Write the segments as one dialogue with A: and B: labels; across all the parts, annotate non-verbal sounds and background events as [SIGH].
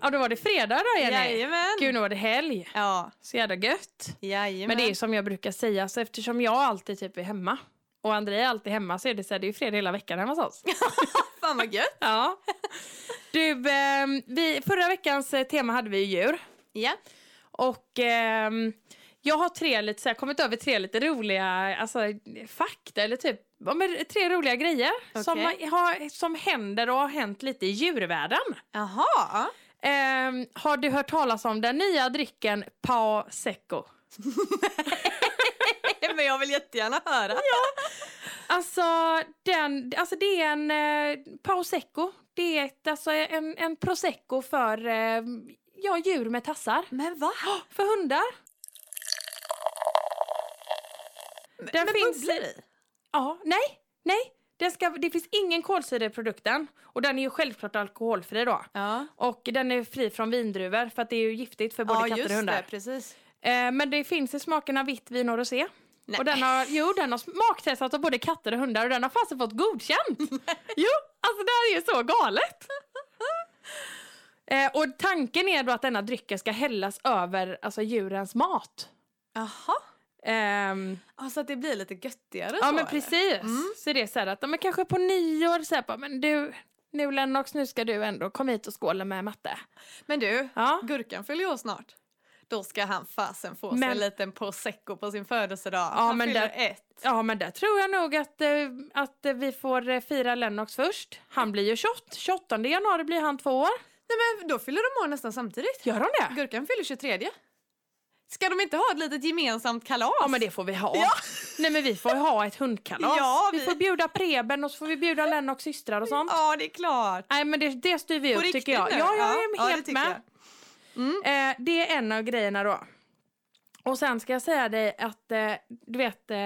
A: Ja, då var det fredag då Jenny.
B: Jajamän.
A: Gud, nu var det helg.
B: Ja,
A: Så jävla gött.
B: jajamän.
A: Men det är som jag brukar säga, så eftersom jag alltid typ är hemma och André är alltid hemma så är det så här, det är ju fredag hela veckan hemma hos
B: [LAUGHS]
A: oss.
B: Fan vad gött.
A: Ja. [LAUGHS] Du, ehm, vi, förra veckans eh, tema hade vi ju djur.
B: Ja.
A: Och ehm, jag har tre lite, så här, kommit över tre lite roliga alltså, fakta eller typ ja, men tre roliga grejer som,
B: Okej.
A: har, som händer och har hänt lite i djurvärlden. [LAUGHS]
B: Jaha.
A: Ehm, har du hört talas om den nya drycken Pao Seco?
B: Men jag vill jättegärna höra.
A: Alltså, den, alltså det är en eh, Prosecco. Det är ett, alltså en, en prosecco för eh, ja, djur med tassar. [GASPS]
B: Men va?
A: För hundar. Den
B: Men
A: finns
B: bubblar
A: i-
B: i?
A: Ja, nej, nej. Den ska, det finns ingen kolsyra i produkten. Och den är ju självklart alkoholfri då.
B: Ja.
A: Och den är fri från vindruvor för att det är ju giftigt för både
B: ja,
A: katter
B: just
A: och hundar.
B: det. Precis.
A: Eh, men det finns i smakerna vitt vin och rosé.
B: Nej.
A: Och den har, jo, den har smaktestat av både katter och hundar och den har fasen fått [LAUGHS] godkänt. jo, alltså det här är ju så [LAUGHS] galet. eh, och tanken är då att denna drycken ska hällas över alltså, djurens mat.
B: Jaha.
A: Ehm,
B: Ja, så att det blir lite göttigare
A: ja Mm. men
B: så, eller?
A: precis. Så det är så här att, ja, men kanske på nyår så här, bara, men du, nu Lennox, nu ska du ändå komma hit och skåla med matte.
B: Men du,
A: Ja.
B: Gurkan fyller ju år snart. Då ska han fasen få sig
A: Men-
B: en liten prosecco på sin födelsedag.
A: Ja,
B: han
A: men
B: fyller
A: det-
B: ett.
A: Ja, men där tror jag nog att, eh, att eh, vi får eh, fira Lennox först. Han blir ju 28. 28 januari blir han två år.
B: Nej men då fyller de år nästan samtidigt.
A: Gör han det?
B: Gurkan fyller 23. Ska de inte ha ett litet gemensamt kalas?
A: Ja, men det får vi ha.
B: Ja. [LAUGHS]
A: Nej, men vi får ju ha ett hundkalas.
B: Ja,
A: vi...
B: vi-
A: får bjuda Preben och så får vi bjuda Lennox systrar och sånt.
B: Ja, det är klart.
A: Nej, men det, det styr vi
B: På
A: upp
B: riktigt
A: tycker jag.
B: nu?
A: Ja, jag är
B: Ja, ja, det
A: helt
B: tycker Mm.
A: med. Eh, det är en av grejerna då. Och sen ska jag säga dig att, eh, du vet, eh,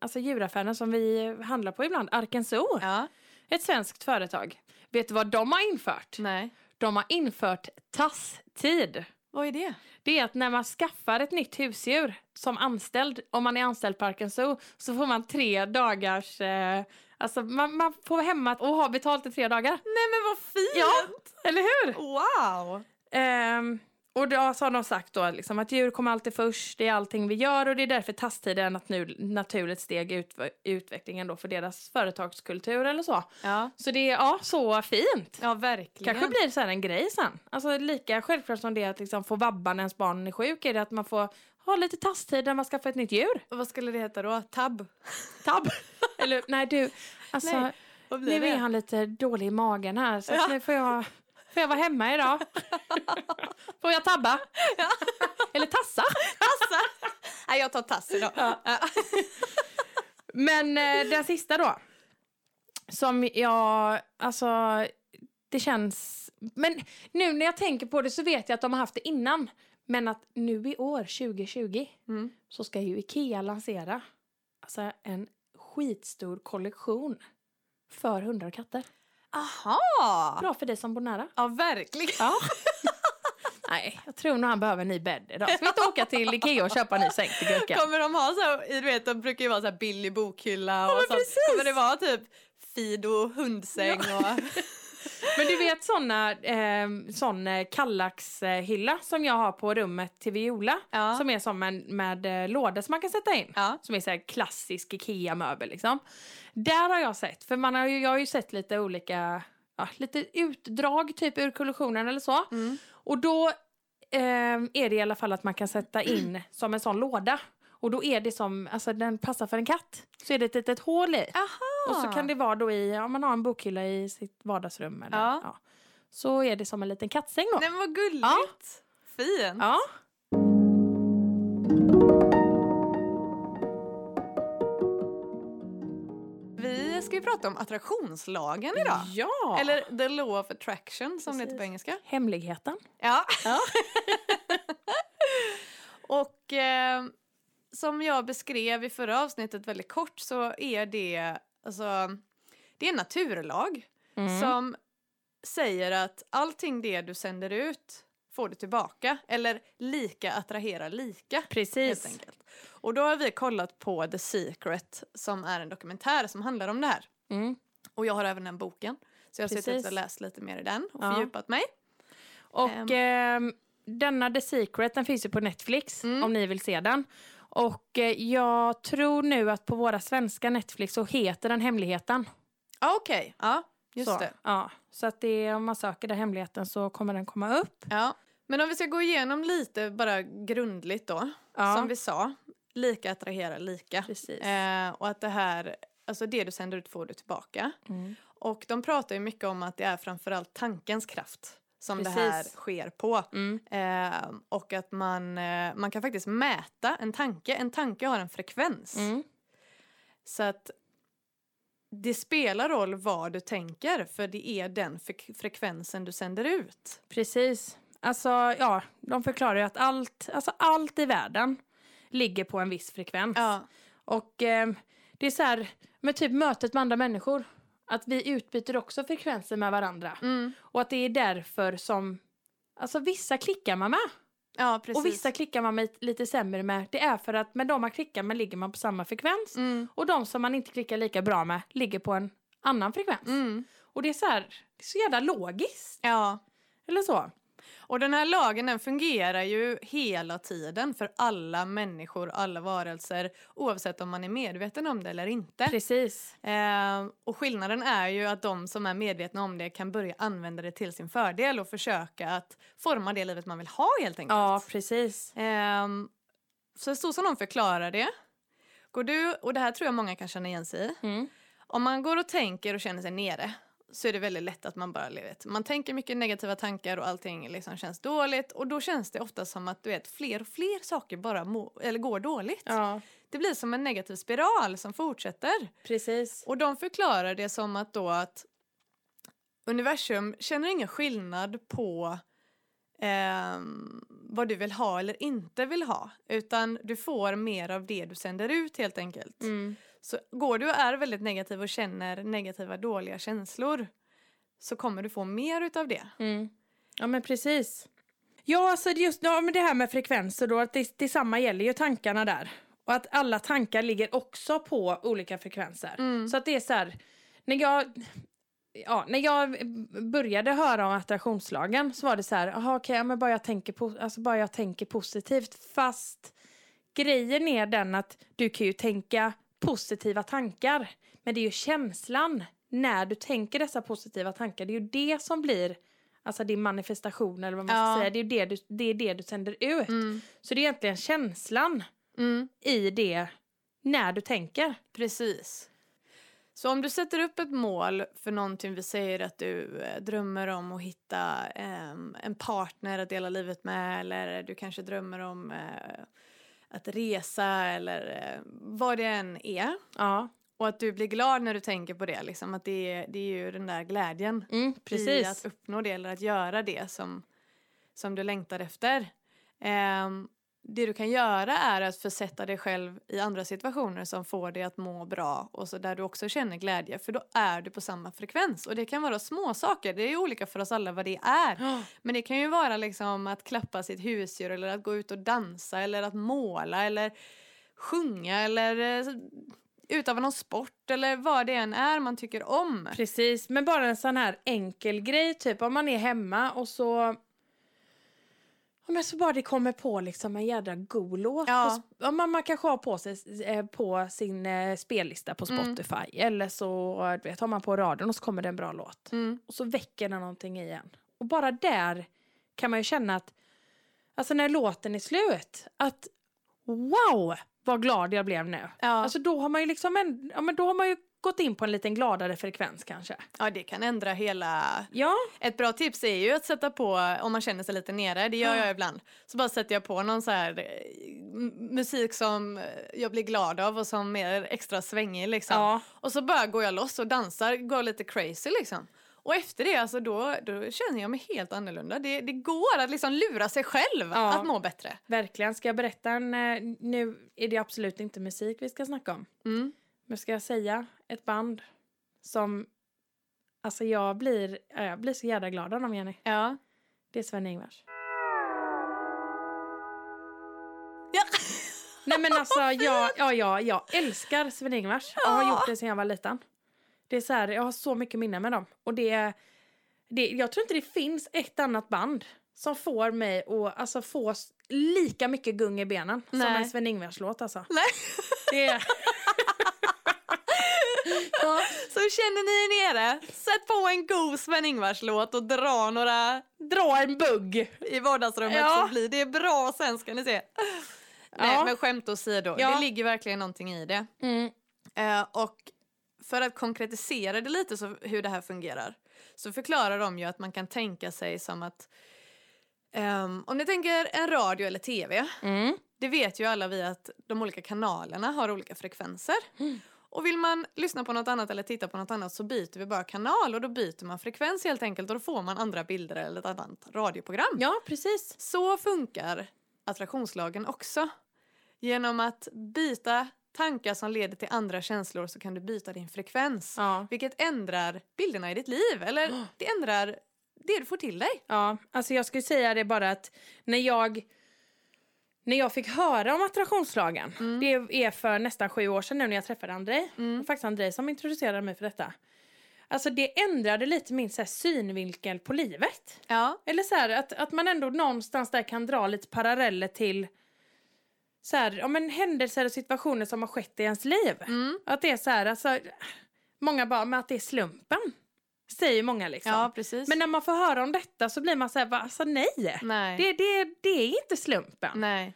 A: alltså djuraffären som vi handlar på ibland, Arken Zoo,
B: Ja,
A: ett svenskt företag. Vet du vad de har infört?
B: nej.
A: De har infört tasstid.
B: Vad är det?
A: Det är att när man skaffar ett nytt husdjur som anställd, om man är anställd på Arken Zoo, så får man tre dagars... Eh, alltså man, man får vara hemma och ha betalt i tre dagar.
B: Nej men [LAUGHS] vad fint!
A: Ja. Eller hur?
B: Wow!
A: Ehm, och då så har de sagt då liksom att djur kommer alltid först, det är allting vi gör och det är därför tasstiden är ett nat- naturligt steg i utv- i utvecklingen då för deras företagskultur eller så.
B: Ja,
A: Så det är ja, så fint.
B: ja verkligen.
A: Kanske blir det så här en grej sen. Alltså lika självklart som det är att liksom få vabba när ens barn är sjuk är det att man får ha lite tasstid när man skaffar ett nytt djur.
B: Vad skulle det heta då? Tab?
A: Tabb! [LAUGHS] Eller nej du, alltså
B: Nej, Vad
A: nu
B: blir det?
A: är han lite dålig i magen här så att
B: Ja.
A: nu får jag, får jag vara hemma idag.
B: [LAUGHS]
A: får jag tabba? Eller tassa?
B: Tassar? Nej, jag tar tass idag.
A: Ja.
B: Ja.
A: Men eh, den sista då. Som jag, alltså det känns... Men nu när jag tänker på det så vet jag att de har haft det innan. Men att nu i år, 2020,
B: Mm.
A: så ska ju Ikea lansera alltså en skitstor kollektion för hundar och katter.
B: Aha!
A: Bra för dig som bor nära.
B: Ja, verkligen.
A: Ja. [LAUGHS] Nej, jag tror nog han behöver en ny bädd idag. Ska vi inte åka till Ikea och köpa en ny säng till Gurka?
B: Kommer de ha så här, du vet de brukar ju vara så här billig bokhylla och
A: men
B: sånt.
A: precis.
B: Kommer det vara typ Fido hundsäng och...
A: Men du vet såna, eh, sån eh, kallaxhylla som jag har på rummet till Viola.
B: [LAUGHS] Ja.
A: Som är som en med eh, låda som man kan sätta in.
B: Ja.
A: Som är så här klassisk IKEA-möbel liksom. Där har jag sett, för man har ju, jag har ju sett lite olika, ja, lite utdrag typ ur kollektionen eller så.
B: Mm.
A: Och då ehm, är det i alla fall att man kan sätta in som en sån låda. Och då är det som, alltså den passar för en katt. Så är det ett litet hål i.
B: Aha!
A: Och så kan det vara då i, om man har en bokhylla i sitt vardagsrum eller,
B: Ja.
A: ja. Så är det som en liten kattsäng då.
B: Nej men vad gulligt!
A: Ja.
B: Fint!
A: Ja.
B: Vi ska ju prata om attraktionslagen idag.
A: ja. Eller
B: Eller the law of attraction som det heter på
A: Precis.
B: engelska.
A: hemligheten.
B: Ja.
A: Ja.
B: [LAUGHS] och eh, som jag beskrev i förra avsnittet väldigt kort så är det, alltså, det är en naturlag
A: Mm.
B: som säger att allting det du sänder ut får du tillbaka. Eller lika attraherar lika. Helt
A: Precis.
B: enkelt. Och då har vi kollat på The Secret som är en dokumentär som handlar om det här.
A: Mm.
B: Och jag har även den boken. Så jag har suttit
A: Precis.
B: och läst lite mer i den och
A: Ja.
B: fördjupat mig.
A: Och ehm, denna The Secret den finns ju på Netflix
B: Mm.
A: om ni vill se den. Och eh, jag tror nu att på våra svenska Netflix så heter den Hemligheten.
B: Ah, Okej, ja, just
A: så,
B: det.
A: Ja, så att det är, om man söker den hemligheten så kommer den komma upp.
B: Ja. Men om vi ska gå igenom lite bara grundligt då,
A: Ja,
B: som vi sa, lika attraherar lika.
A: precis.
B: Eh, och att det här, alltså det du sänder ut får du tillbaka.
A: Mm.
B: Och de pratar ju mycket om att det är framförallt tankens kraft som det här
A: Precis.
B: sker på.
A: Mm.
B: Eh, och att man, eh, man kan faktiskt mäta en tanke. En tanke har en frekvens.
A: Mm.
B: Så att det spelar roll vad du tänker för det är den fre- frekvensen du sänder ut.
A: Precis. Alltså, ja, de förklarar ju att allt, alltså allt i världen ligger på en viss frekvens.
B: Ja,
A: Och ehm, det är så här, med typ mötet med andra människor, att vi utbyter också frekvenser med varandra.
B: mm.
A: Och att det är därför som, alltså vissa klickar man med.
B: ja precis.
A: Och vissa klickar man med lite sämre med. Det är för att med de man klickar med ligger man på samma frekvens.
B: mm.
A: Och de som man inte klickar lika bra med ligger på en annan frekvens.
B: Mm.
A: Och det är så här, det är så jävla logiskt.
B: Ja,
A: Eller så.
B: och den här lagen den fungerar ju hela tiden för alla människor, alla varelser oavsett om man är medveten om det eller inte.
A: Precis.
B: Eh, och skillnaden är ju att de som är medvetna om det kan börja använda det till sin fördel och försöka att forma det livet man vill ha helt enkelt.
A: Ja, precis.
B: Ehm, så så som de förklarar det. Går du, och det här tror jag många kan känna igen sig i.
A: Mm.
B: Om man går och tänker och känner sig nere så är det väldigt lätt att man bara vet, man tänker mycket negativa tankar och allting liksom känns dåligt och då känns det ofta som att du vet fler och fler saker bara må, eller går dåligt.
A: Ja,
B: Det blir som en negativ spiral som fortsätter.
A: precis.
B: Och de förklarar det som att då att universum känner ingen skillnad på ehm, vad du vill ha eller inte vill ha. Utan du får mer av det du sänder ut helt enkelt.
A: Mm.
B: Så går du och är väldigt negativ och känner negativa dåliga känslor så kommer du få mer utav det.
A: Mm. Ja, men precis. Ja, alltså det just ja, men det här med frekvenser då, att det, detsamma gäller ju tankarna där. Och att alla tankar ligger också på olika frekvenser.
B: Mm.
A: Så att det är så här, när jag, ja, när jag började höra om attraktionslagen så var det så här, aha, okej, ja, men bara jag, tänker po- alltså bara jag tänker positivt. Fast grejen är den att du kan ju tänka positiva tankar. Men det är ju känslan när du tänker dessa positiva tankar, det är ju det som blir Alltså din manifestation eller vad man
B: Ja.
A: ska säga. Det är, ju det, du, det är det du sänder ut.
B: Mm.
A: Så det är egentligen känslan
B: Mm.
A: i det när du tänker.
B: Precis. Så om du sätter upp ett mål för någonting, vi säger att du eh, drömmer om att hitta ehm, en partner att dela livet med eller du kanske drömmer om eh, att resa eller eh, vad det än är.
A: Ja,
B: Och att du blir glad när du tänker på det, liksom, att det, är- det är ju den där glädjen
A: mm,
B: i
A: precis.
B: att uppnå det eller att göra det som, som du längtar efter. Ehm, det du kan göra är att försätta dig själv i andra situationer som får dig att må bra och så där du också känner glädje för då är du på samma frekvens och det kan vara små saker. det är ju olika för oss alla vad det är.
A: Ja,
B: Men det kan ju vara liksom att klappa sitt husdjur eller att gå ut och dansa eller att måla eller sjunga eller eh, utöva någon sport eller vad det än är man tycker om.
A: [GASPS] precis. Men bara en sån här enkel grej, typ om man är hemma och så... Ja, men så bara det kommer på liksom en jädra god låt.
B: Ja.
A: På, sp- ja, man, man kanske har på, sig, eh, på sin eh, spellista på
B: Mm.
A: Spotify. Eller så du vet, har man på radion och så kommer det en bra låt.
B: Mm.
A: och så väcker den någonting igen. Och bara där kan man ju känna att, alltså när låten är slut, att wow vad glad jag blev nu.
B: Ja.
A: Alltså då har man ju liksom en, ja men då har man ju gått in på en liten gladare frekvens kanske.
B: Ja, det kan ändra hela...
A: Ja,
B: Ett bra tips är ju att sätta på, om man känner sig lite nere, det gör
A: Ja.
B: jag ibland, så bara sätter jag på någon så här eh, m- musik som eh, jag blir glad av och som är extra svängig liksom.
A: ja,
B: Och så bara går jag loss och dansar, går lite crazy liksom. Och efter det, alltså då, då känner jag mig helt annorlunda. Det, det går att liksom lura sig själv
A: Ja.
B: att må bättre.
A: verkligen. Ska jag berätta en, eh, nu är det absolut inte musik vi ska snacka om.
B: Mm.
A: Men ska jag säga ett band som, alltså jag blir, eh, jag blir så jävla glad av dem Jenny.
B: Ja.
A: Det är Sven-Ingvars.
B: Ja. [LAUGHS]
A: Nej [LAUGHS] men alltså jag, ja, ja, jag älskar Sven-Ingvars och har gjort det sedan jag var liten. Det är så här, jag har så mycket minnen med dem. Och det, är- det, jag tror inte det finns ett annat band som får mig att alltså, få s- lika mycket gung i benen som
B: Nej.
A: en Sven-Ingvars låt [LAUGHS] alltså.
B: Nej.
A: Det är... ja,
B: [LAUGHS] Så känner ni er nere, sätt på en god Sven-Ingvars-låt och dra några
A: dra en bugg.
B: i vardagsrummet
A: Ja.
B: så blir det bra sen ska ni se.
A: Ja.
B: Nej men skämt åsido,
A: Ja.
B: det ligger verkligen någonting i det.
A: Mm.
B: Eh, och för att konkretisera det lite så hur det här fungerar så förklarar de ju att man kan tänka sig som att ehm, om ni tänker en radio eller tv,
A: Mm.
B: det vet ju alla vi att de olika kanalerna har olika frekvenser. Och vill man lyssna på något annat eller titta på något annat så byter vi bara kanal och då byter man frekvens helt enkelt och då får man andra bilder eller ett annat radioprogram.
A: ja, precis.
B: Så funkar attraktionslagen också. Genom att byta tankar som leder till andra känslor så kan du byta din frekvens.
A: Ja.
B: Vilket ändrar bilderna i ditt liv, [GASPS] eller det ändrar det du får till dig.
A: Ja, alltså jag skulle säga det bara att när jag när jag fick höra om attraktionslagen,
B: Mm.
A: det är för nästan sju år sedan nu när jag träffade Andrei, det var faktiskt Andrei som introducerade mig för detta. Alltså det ändrade lite min så här, synvinkel på livet.
B: Ja.
A: Eller så här, att, att man ändå någonstans där kan dra lite paralleller till så här, ja, men händelser och situationer som har skett i ens liv.
B: Mm.
A: Att det är så här, alltså, många bara, men att det är slumpen. Säger många liksom.
B: Ja, precis.
A: Men när man får höra om detta så blir man så här, va, alltså nej.
B: nej.
A: Det, det, det är inte slumpen.
B: nej.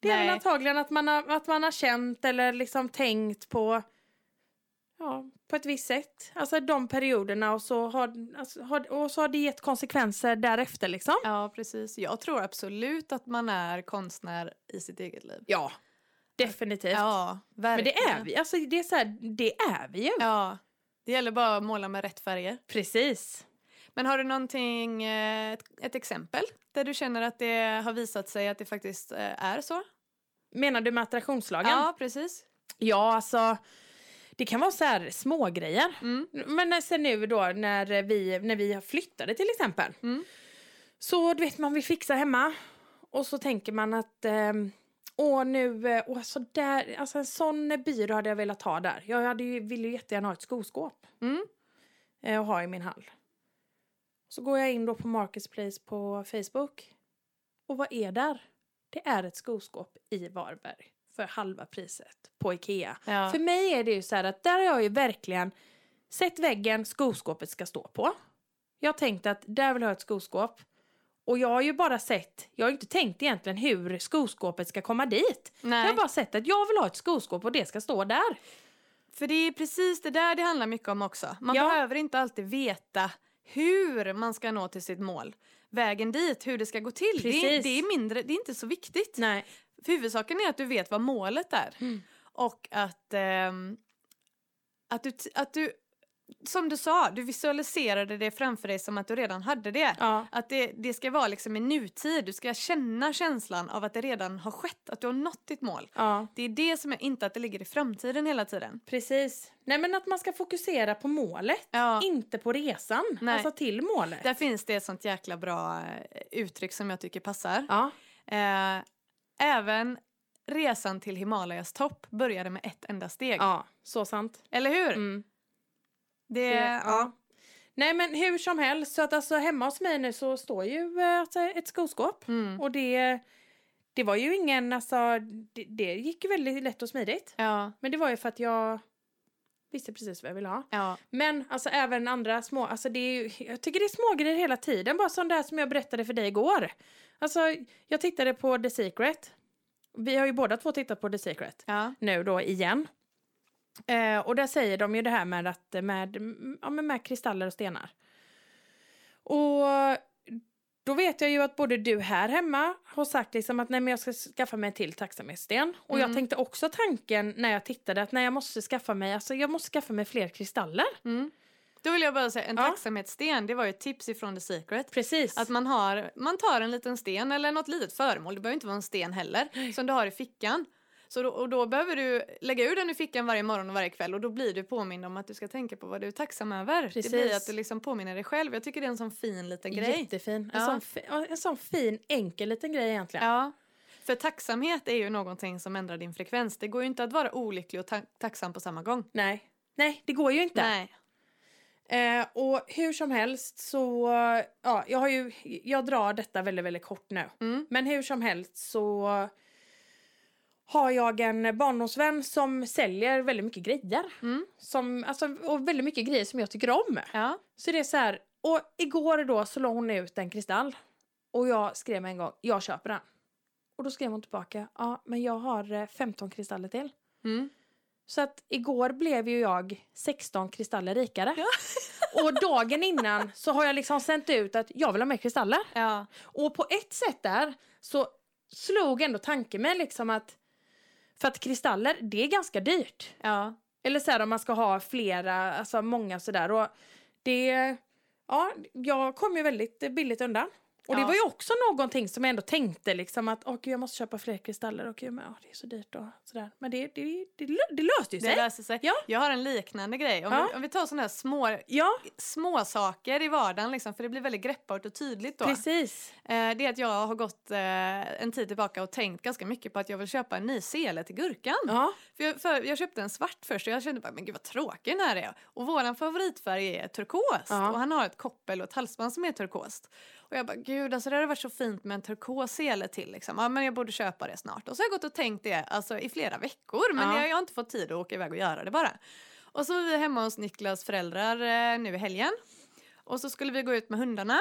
A: Det är väl
B: Nej.
A: antagligen att man, har, att man har känt eller liksom tänkt på Ja, på ett visst sätt. Alltså de perioderna och så har, alltså, har, och så har det gett konsekvenser därefter liksom.
B: Ja, precis. Jag tror absolut att man är konstnär i sitt eget liv.
A: Ja. Definitivt.
B: Ja,
A: Men det
B: verkligen.
A: är vi. Alltså det är så här, det är vi ju.
B: Ja. Det gäller bara att måla med rätt färger.
A: Precis.
B: Men har du någonting, eh, ett, ett exempel där du känner att det har visat sig att det faktiskt eh, är så?
A: Menar du med attraktionslagen?
B: Ja, precis.
A: Ja, alltså. Det kan vara så här små grejer.
B: Mm.
A: Men när- sen nu då när vi, när vi flyttade till exempel.
B: Mm.
A: Så du vet man vill fixa hemma. Och så tänker man att ehm, åh nu, eh, åh så där, alltså en sån byrå hade jag velat ha där. Jag hade ju, ville ju jättegärna ha ett skoskåp
B: Mm.
A: eh, att ha i min hall. Så går jag in då på Marketplace på Facebook. Och vad är där? Det är ett skoskåp i Varberg för halva priset på Ikea.
B: Ja.
A: För mig är det ju så här att där har jag ju verkligen sett väggen skoskåpet ska stå på. Jag tänkte att där vill jag ha ett skoskåp. Och jag har ju bara sett, jag har ju inte tänkt egentligen hur skoskåpet ska komma dit. Jag har
B: Nej,
A: bara sett att jag vill ha ett skoskåp och det ska stå där.
B: för det är precis det där det handlar mycket om också. Man
A: Ja.
B: behöver inte alltid veta hur man ska nå till sitt mål. Vägen dit, hur det ska gå till. Det,
A: Precis.
B: är- det, är mindre, det är inte så viktigt.
A: Nej. Mm.
B: För huvudsaken är att du vet vad målet är. Och att, ehm, att, du, t- att du, som du sa, du visualiserade det framför dig som att du redan hade det.
A: Ja.
B: Att det, det ska vara liksom i nutid, du ska känna känslan av att det redan har skett, att du har nått ditt mål.
A: Ja.
B: Det är det som är, inte att det ligger i framtiden hela tiden.
A: Precis. Nej men att man ska fokusera på målet.
B: Ja.
A: Inte på resan.
B: Nej.
A: Alltså till målet.
B: Där finns det ett sånt jäkla bra eh, uttryck som jag tycker passar.
A: Ja.
B: Eh, även resan till Himalayas topp började med ett enda steg.
A: ja, så sant.
B: Eller hur?
A: Mm.
B: Det,
A: Det-
B: Eh, ja.
A: Eh, ja. Nej men hur som helst, så att alltså hemma hos mig nu så står ju eh, alltså, ett skoskåp.
B: Mm.
A: Och det, det var ju ingen, alltså det, det gick ju väldigt lätt och smidigt.
B: Ja.
A: Men det var ju för att jag visste precis vad jag ville ha.
B: Ja.
A: Men alltså även andra små, alltså det är ju, jag tycker det är smågrejer hela tiden. Bara sån där som jag berättade för dig igår. Alltså jag tittade på The Secret. Vi har ju båda två tittat på The Secret
B: Ja.
A: nu då igen. Eh, och där säger de ju det här med, att, med, mm, ja, men med kristaller och stenar. Och då vet jag ju att både du här hemma har sagt liksom att nej men jag ska skaffa mig en till tacksamhetssten. Och jag
B: Mm.
A: tänkte också tanken när jag tittade att nej jag måste skaffa mig, alltså jag måste skaffa mig fler kristaller.
B: Mm. Då vill jag bara säga, en
A: Ja.
B: tacksamhetssten, det var ju ett tips ifrån The Secret.
A: Precis.
B: Att man, har, man tar en liten sten eller något litet föremål, det behöver inte vara en sten heller, som du har i fickan. Så då, och då behöver du lägga ur den i fickan varje morgon och varje kväll och då blir du påmind om att du ska tänka på vad du är tacksam över.
A: Precis.
B: Det blir att du liksom påminner dig själv. Jag tycker det är en sån fin liten grej.
A: Jättefin. En,
B: Ja.
A: sån, fi- ja, en sån fin enkel liten grej egentligen.
B: Ja. För tacksamhet är ju någonting som ändrar din frekvens. Det går ju inte att vara olycklig och ta- tacksam på samma gång.
A: Nej. Nej, det går ju inte.
B: Nej.
A: Eh, och hur som helst så, ja, jag har ju, jag drar detta väldigt, väldigt kort nu.
B: Mm.
A: Men hur som helst så har jag en barndomsvän som säljer väldigt mycket grejer.
B: Mm.
A: Som, alltså, och väldigt mycket grejer som jag tycker om.
B: Ja.
A: Så det är så här, och igår då så la hon ut en kristall. Och jag skrev en gång, jag köper den. Och då skrev hon tillbaka, ja men jag har eh, 15 kristaller till.
B: Mm.
A: Så att igår blev ju jag 16 kristaller rikare.
B: [LAUGHS] Ja.
A: Och dagen innan så har jag liksom sänt ut att jag vill ha mer kristaller.
B: Ja.
A: Och på ett sätt där så slog ändå tanken mig liksom att för att kristaller, det är ganska dyrt.
B: Ja.
A: Eller så här om man ska ha flera, alltså många sådär. Och det, ja, jag kom ju väldigt billigt undan. Och det
B: Ja.
A: var ju också någonting som jag ändå tänkte liksom att åh gud, jag måste köpa fler kristaller och gud, men, åh, det är så dyrt och sådär. Men det, det, det, lö- det löste ju
B: Det
A: sig.
B: löser sig.
A: Ja.
B: Jag har en liknande grej. Om,
A: Ja.
B: vi, om vi tar sådana här små,
A: Ja,
B: små saker i vardagen, liksom, för det blir väldigt greppbart och tydligt då.
A: precis.
B: Eh, det är att jag har gått eh, en tid tillbaka och tänkt ganska mycket på att jag vill köpa en ny sele till gurkan.
A: Ja,
B: För jag, för jag köpte en svart först och jag kände bara, men gud vad tråkig den här är. Och våran favoritfärg är turkost.
A: Ja.
B: Och han har ett koppel och ett halsband som är turkost. Och jag bara, gud alltså det hade varit så fint med en turkos sele till liksom. Ja men jag borde köpa det snart. Och så har jag gått och tänkt det alltså, i flera veckor. Men
A: Ja.
B: jag, jag har inte fått tid att åka iväg och göra det bara. Och så var vi hemma hos Niklas föräldrar eh, nu i helgen. Och så skulle vi gå ut med hundarna.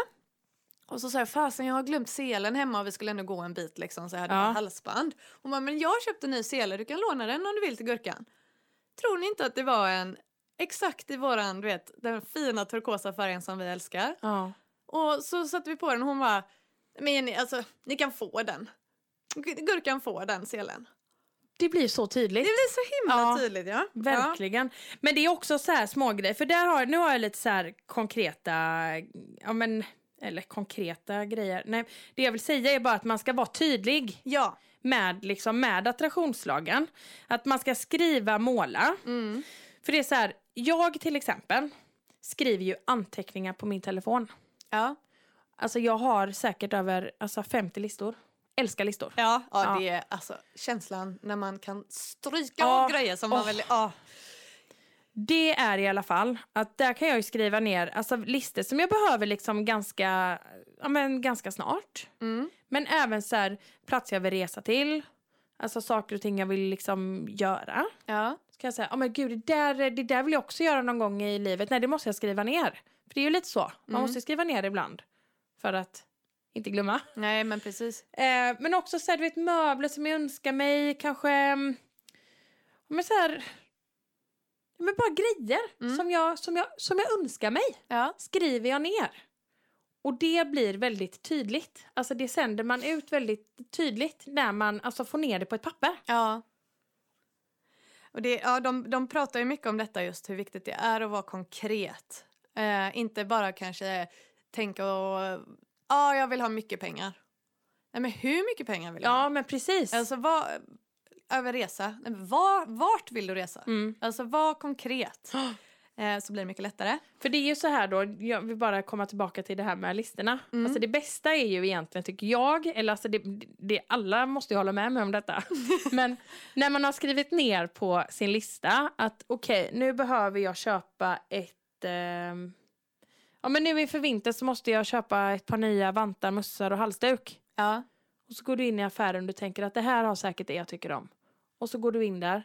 B: Och så sa jag, fasen jag har glömt selen hemma och vi skulle ändå gå en bit liksom så jag hade
A: Ja.
B: ja. halsband. Hon bara, men jag har köpt en ny sele, du kan låna den om du vill till gurkan. Tror ni inte att det var en exakt i våran, du vet, den fina turkosa färgen som vi älskar?
A: ja.
B: Och så satte vi på den och hon bara, men Jenny, alltså ni kan få den. Gu- Gurkan får den selen.
A: Det blir så tydligt.
B: Det blir så himla
A: Ja,
B: tydligt ja.
A: Verkligen. Men det är också så här små grejer. För där har, nu har jag lite så här konkreta, ja men, eller konkreta grejer. Nej, det jag vill säga är bara att man ska vara tydlig
B: Ja.
A: med, liksom, med attraktionslagen. Att man ska skriva, måla.
B: ja. Mm.
A: För det är så här, jag till exempel skriver ju anteckningar på min telefon.
B: Ja.
A: Alltså jag har säkert över alltså, 50 listor. Älskar listor.
B: Ja, ja,
A: Ja.
B: det är alltså känslan när man kan stryka
A: Ja.
B: av grejer som man
A: Åh.
B: väl... Ja.
A: Det är i alla fall att där kan jag ju skriva ner alltså, listor som jag behöver liksom ganska, ja, men ganska snart.
B: Mm.
A: Men även så här, platser jag vill resa till, alltså saker och ting jag vill liksom göra.
B: Ja.
A: Så kan jag säga, ja men gud det där, det där vill jag också göra någon gång i livet. Nej det måste jag skriva ner. För det är ju lite så, man
B: Mm.
A: måste skriva ner ibland. För att inte glömma.
B: Nej, men precis.
A: Eh, men också så här, du vet, möbler som jag önskar mig, kanske... mm, Men så här, ja, men bara grejer
B: Mm.
A: som, jag, som, jag, som jag önskar mig
B: Ja.
A: skriver jag ner. Och det blir väldigt tydligt. Alltså det sänder man ut väldigt tydligt när man alltså, får ner det på ett papper.
B: ja. Och det, ja de, de pratar ju mycket om detta just hur viktigt det är att vara konkret. Eh, inte bara kanske tänka och... Ja, jag vill ha mycket pengar. Nej, men hur mycket pengar vill jag ha?
A: Ja, men precis.
B: Alltså, vad... Över resa. Nej, men var, vart vill du resa?
A: Mm.
B: Alltså, var [GASPS] konkret. Eh, så blir det mycket lättare.
A: För det är ju så här då, jag vill bara komma tillbaka till det här med listorna.
B: Mm.
A: Alltså det bästa är ju egentligen, tycker jag, eller alltså det, det, alla måste ju hålla med mig om detta. Men när man har skrivit ner på sin lista att okej, nu behöver jag köpa ett... ehm, ja men nu inför vintern så måste jag köpa ett par nya vantar, mössor och halsduk.
B: Ja.
A: Och så går du in i affären och du tänker att det här har säkert det jag tycker om. Och så går du in där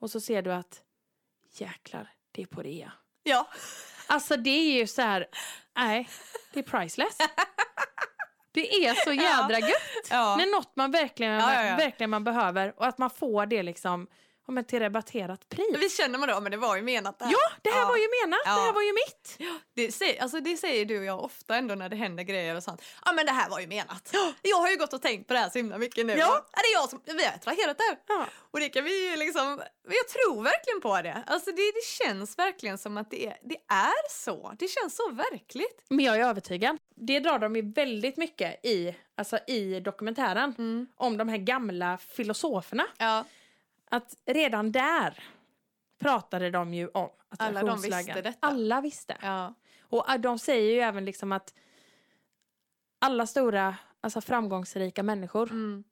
A: och så ser du att jäklar, det är på rea.
B: Ja.
A: Alltså det är ju så här, nej, det är
B: [LAUGHS]
A: priceless. Det är så jädra gött.
B: ja.
A: När något man verkligen,
B: Ja, ja, ja.
A: verkligen man behöver och att man får det liksom ja, men till rabatterat pris.
B: Visst känner man då, men det var ju menat det här.
A: Ja, det här
B: Ja.
A: var ju menat, det här
B: Ja.
A: var ju mitt.
B: Det, säger, alltså det säger du och jag ofta ändå när det händer grejer och sånt. Ja men det här var ju menat. Jag har ju gått och tänkt på det här så himla mycket nu.
A: Ja.
B: Ja, det är jag som, vi har attraherat det här.
A: Ja.
B: Och det kan vi ju liksom, men jag tror verkligen på det. Alltså det, det känns verkligen som att det är, det är så. Det känns så verkligt.
A: Men jag är övertygad. Det drar de ju väldigt mycket i, alltså i dokumentären
B: Mm.
A: om de här gamla filosoferna.
B: Ja,
A: Att redan där pratade de ju om
B: Alla de visste
A: attraktionslagen.
B: detta.
A: Alla visste.
B: ja,
A: Och äh, de säger ju även liksom att alla stora, alltså framgångsrika människor,
B: mm.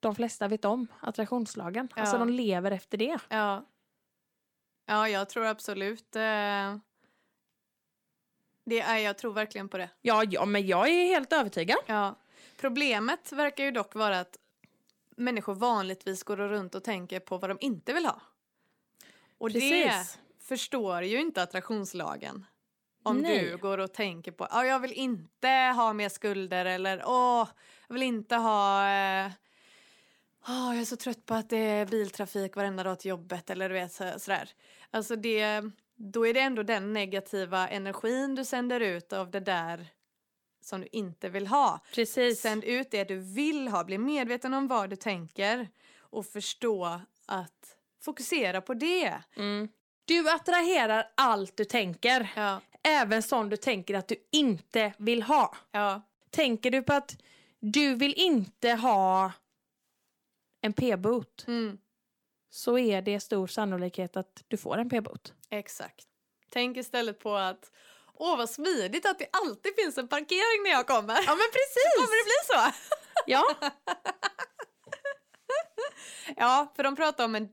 A: de flesta vet om attraktionslagen.
B: Ja.
A: Alltså de lever efter det.
B: ja. Ja, jag tror absolut eh, Det är, jag tror verkligen på det.
A: Ja, ja, men jag är helt övertygad.
B: Ja. Problemet verkar ju dock vara att människor vanligtvis går runt och tänker på vad de inte vill ha. Och det
A: Precis.
B: förstår ju inte attraktionslagen. Om
A: Nej.
B: du går och tänker på att jag vill inte ha mer skulder eller åh, jag vill inte ha eh, åh, jag är så trött på att det är biltrafik varenda dag till jobbet eller du vet så- sådär. Alltså det, då är det ändå den negativa energin du sänder ut av det där som du inte vill ha.
A: Precis.
B: Sänd ut det du vill ha. Bli medveten om vad du tänker och förstå att fokusera på det.
A: Mm. Du attraherar allt du tänker.
B: Ja,
A: Även sånt du tänker att du inte vill ha.
B: ja,
A: Tänker du på att du vill inte ha en p-bot
B: mm,
A: så är det stor sannolikhet att du får en p-bot.
B: exakt. Tänk istället på att åh vad smidigt att det alltid finns en parkering när jag kommer.
A: Ja men
B: Kommer
A: precis!
B: det bli så?
A: Ja,
B: Ja, för de pratar om en,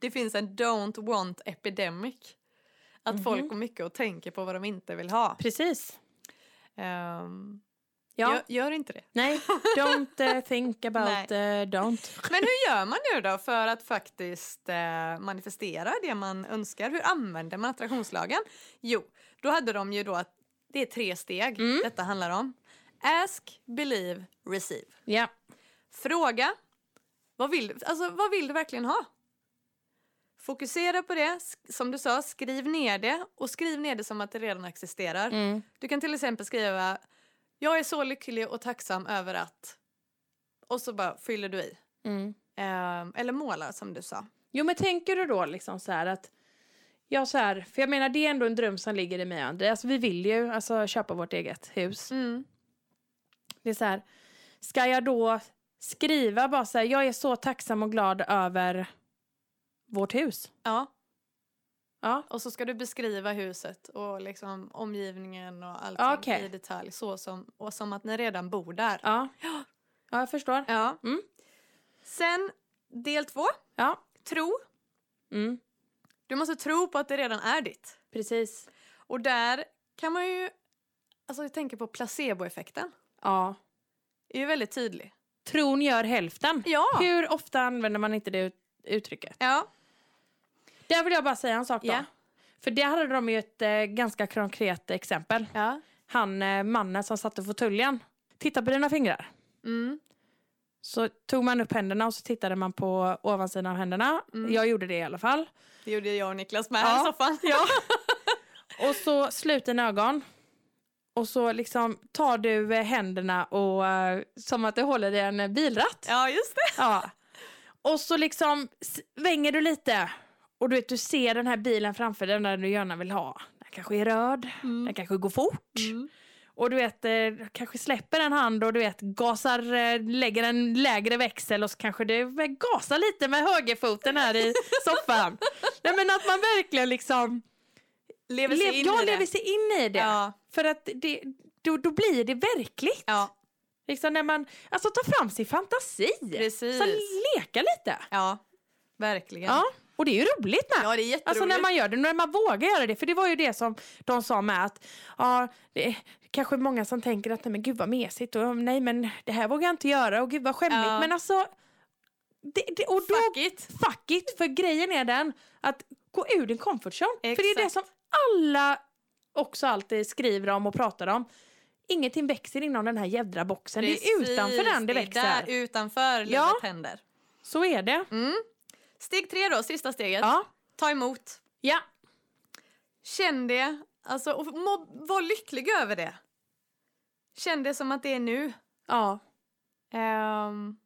B: det finns en don't want epidemic. Att folk går mycket och tänker på vad de inte vill ha.
A: Mhm. precis.
B: Ehm,
A: Ja.
B: gör, gör inte det.
A: Nej, don't eh, [LAUGHS] think about eh, don't.
B: Men hur gör man nu då för att faktiskt eh, manifestera det man önskar? Hur använder man attraktionslagen? Jo, då hade de ju då att det är tre steg
A: Mm.
B: detta handlar om. Ask, believe, receive.
A: Ja,
B: Fråga. Vad vill, du- alltså, vad vill du verkligen ha? Fokusera på det. Sk- Som du sa, skriv ner det. Och skriv ner det som att det redan existerar.
A: mm.
B: Du kan till exempel skriva Jag är så lycklig och tacksam över att... Och så bara fyller du i.
A: Mm.
B: Ehm, eller målar som du sa.
A: Jo men tänker du då liksom så här att Ja så här, för jag menar det är ändå en dröm som ligger i mig och André. Alltså vi vill ju alltså, köpa vårt eget hus.
B: Mm.
A: Det är så här, ska jag då skriva bara så här, jag är så tacksam och glad över vårt hus.
B: Ja,
A: Ja,
B: och så ska du beskriva huset och liksom omgivningen och allting
A: Okej.
B: i detalj. Så som, och som att ni redan bor där.
A: ja. Ja, jag förstår.
B: Ja.
A: Mm.
B: Sen del två,
A: Ja,
B: tro.
A: mm,
B: Du måste tro på att det redan är ditt.
A: precis.
B: Och där kan man ju, alltså jag tänker på placeboeffekten.
A: Ja.
B: är ju väldigt tydlig.
A: Tron gör hälften.
B: Ja!
A: Hur ofta använder man inte det ut- uttrycket?
B: Ja.
A: Där vill jag bara säga en sak då.
B: Ja.
A: För det hade de ju ett eh, ganska konkret exempel.
B: ja.
A: han eh, mannen som satt i fåtöljen. Titta på dina fingrar.
B: Mm.
A: Så tog man upp händerna och så tittade man på ovansidan av händerna.
B: Mm.
A: Jag gjorde det i alla fall.
B: Det gjorde jag och Niklas med
A: Ja.
B: här i soffan. Ja.
A: Och så slut dina ögon. Och så liksom tar du eh, händerna och eh, som att du håller i en eh, bilratt.
B: [LAUGHS] ja, just det.
A: Ja. Och så liksom svänger du lite. Och du vet, du ser den här bilen framför dig, den där du gärna vill ha. Den kanske är röd,
B: Mm.
A: den kanske går fort.
B: Mm.
A: Och du vet, eh, kanske släpper en hand och du vet, gasar, eh, lägger en lägre växel och så kanske du eh, gasar lite med [LAUGHS] högerfoten här i soffan. Nej men att man verkligen liksom,
B: Lever sig
A: lev,
B: in
A: ja,
B: i det.
A: lever sig in i det.
B: Ja.
A: För att det, då, då blir det verkligt.
B: ja,
A: Liksom när man, alltså ta fram sin fantasi.
B: precis.
A: Så leka lite.
B: Ja, verkligen.
A: Ja, och det är ju roligt med.
B: Ja, det är jätteroligt.
A: Alltså när man gör det, när man vågar göra det. För det var ju det som de sa med att ja, det är kanske många som tänker att nej men gud vad mesigt och nej men det här vågar jag inte göra och gud vad skämmigt.
B: Ja.
A: Men alltså, det, det, och då,
B: Fuck it.
A: fuck it! För grejen är den att gå ur din comfort zone. För det är det
B: Exakt.
A: som alla också alltid skriver om och pratar om. Ingenting växer inom den här jädra boxen. det är utanför den det
B: Det är
A: växer.
B: där utanför
A: Ja.
B: livet händer.
A: Så är det.
B: Mm. Steg tre då, sista steget.
A: Ja.
B: Ta emot.
A: Ja.
B: Känn det. Alltså, och må, var lycklig över det. Känn det som att det är nu.
A: Ja.
B: Ehm,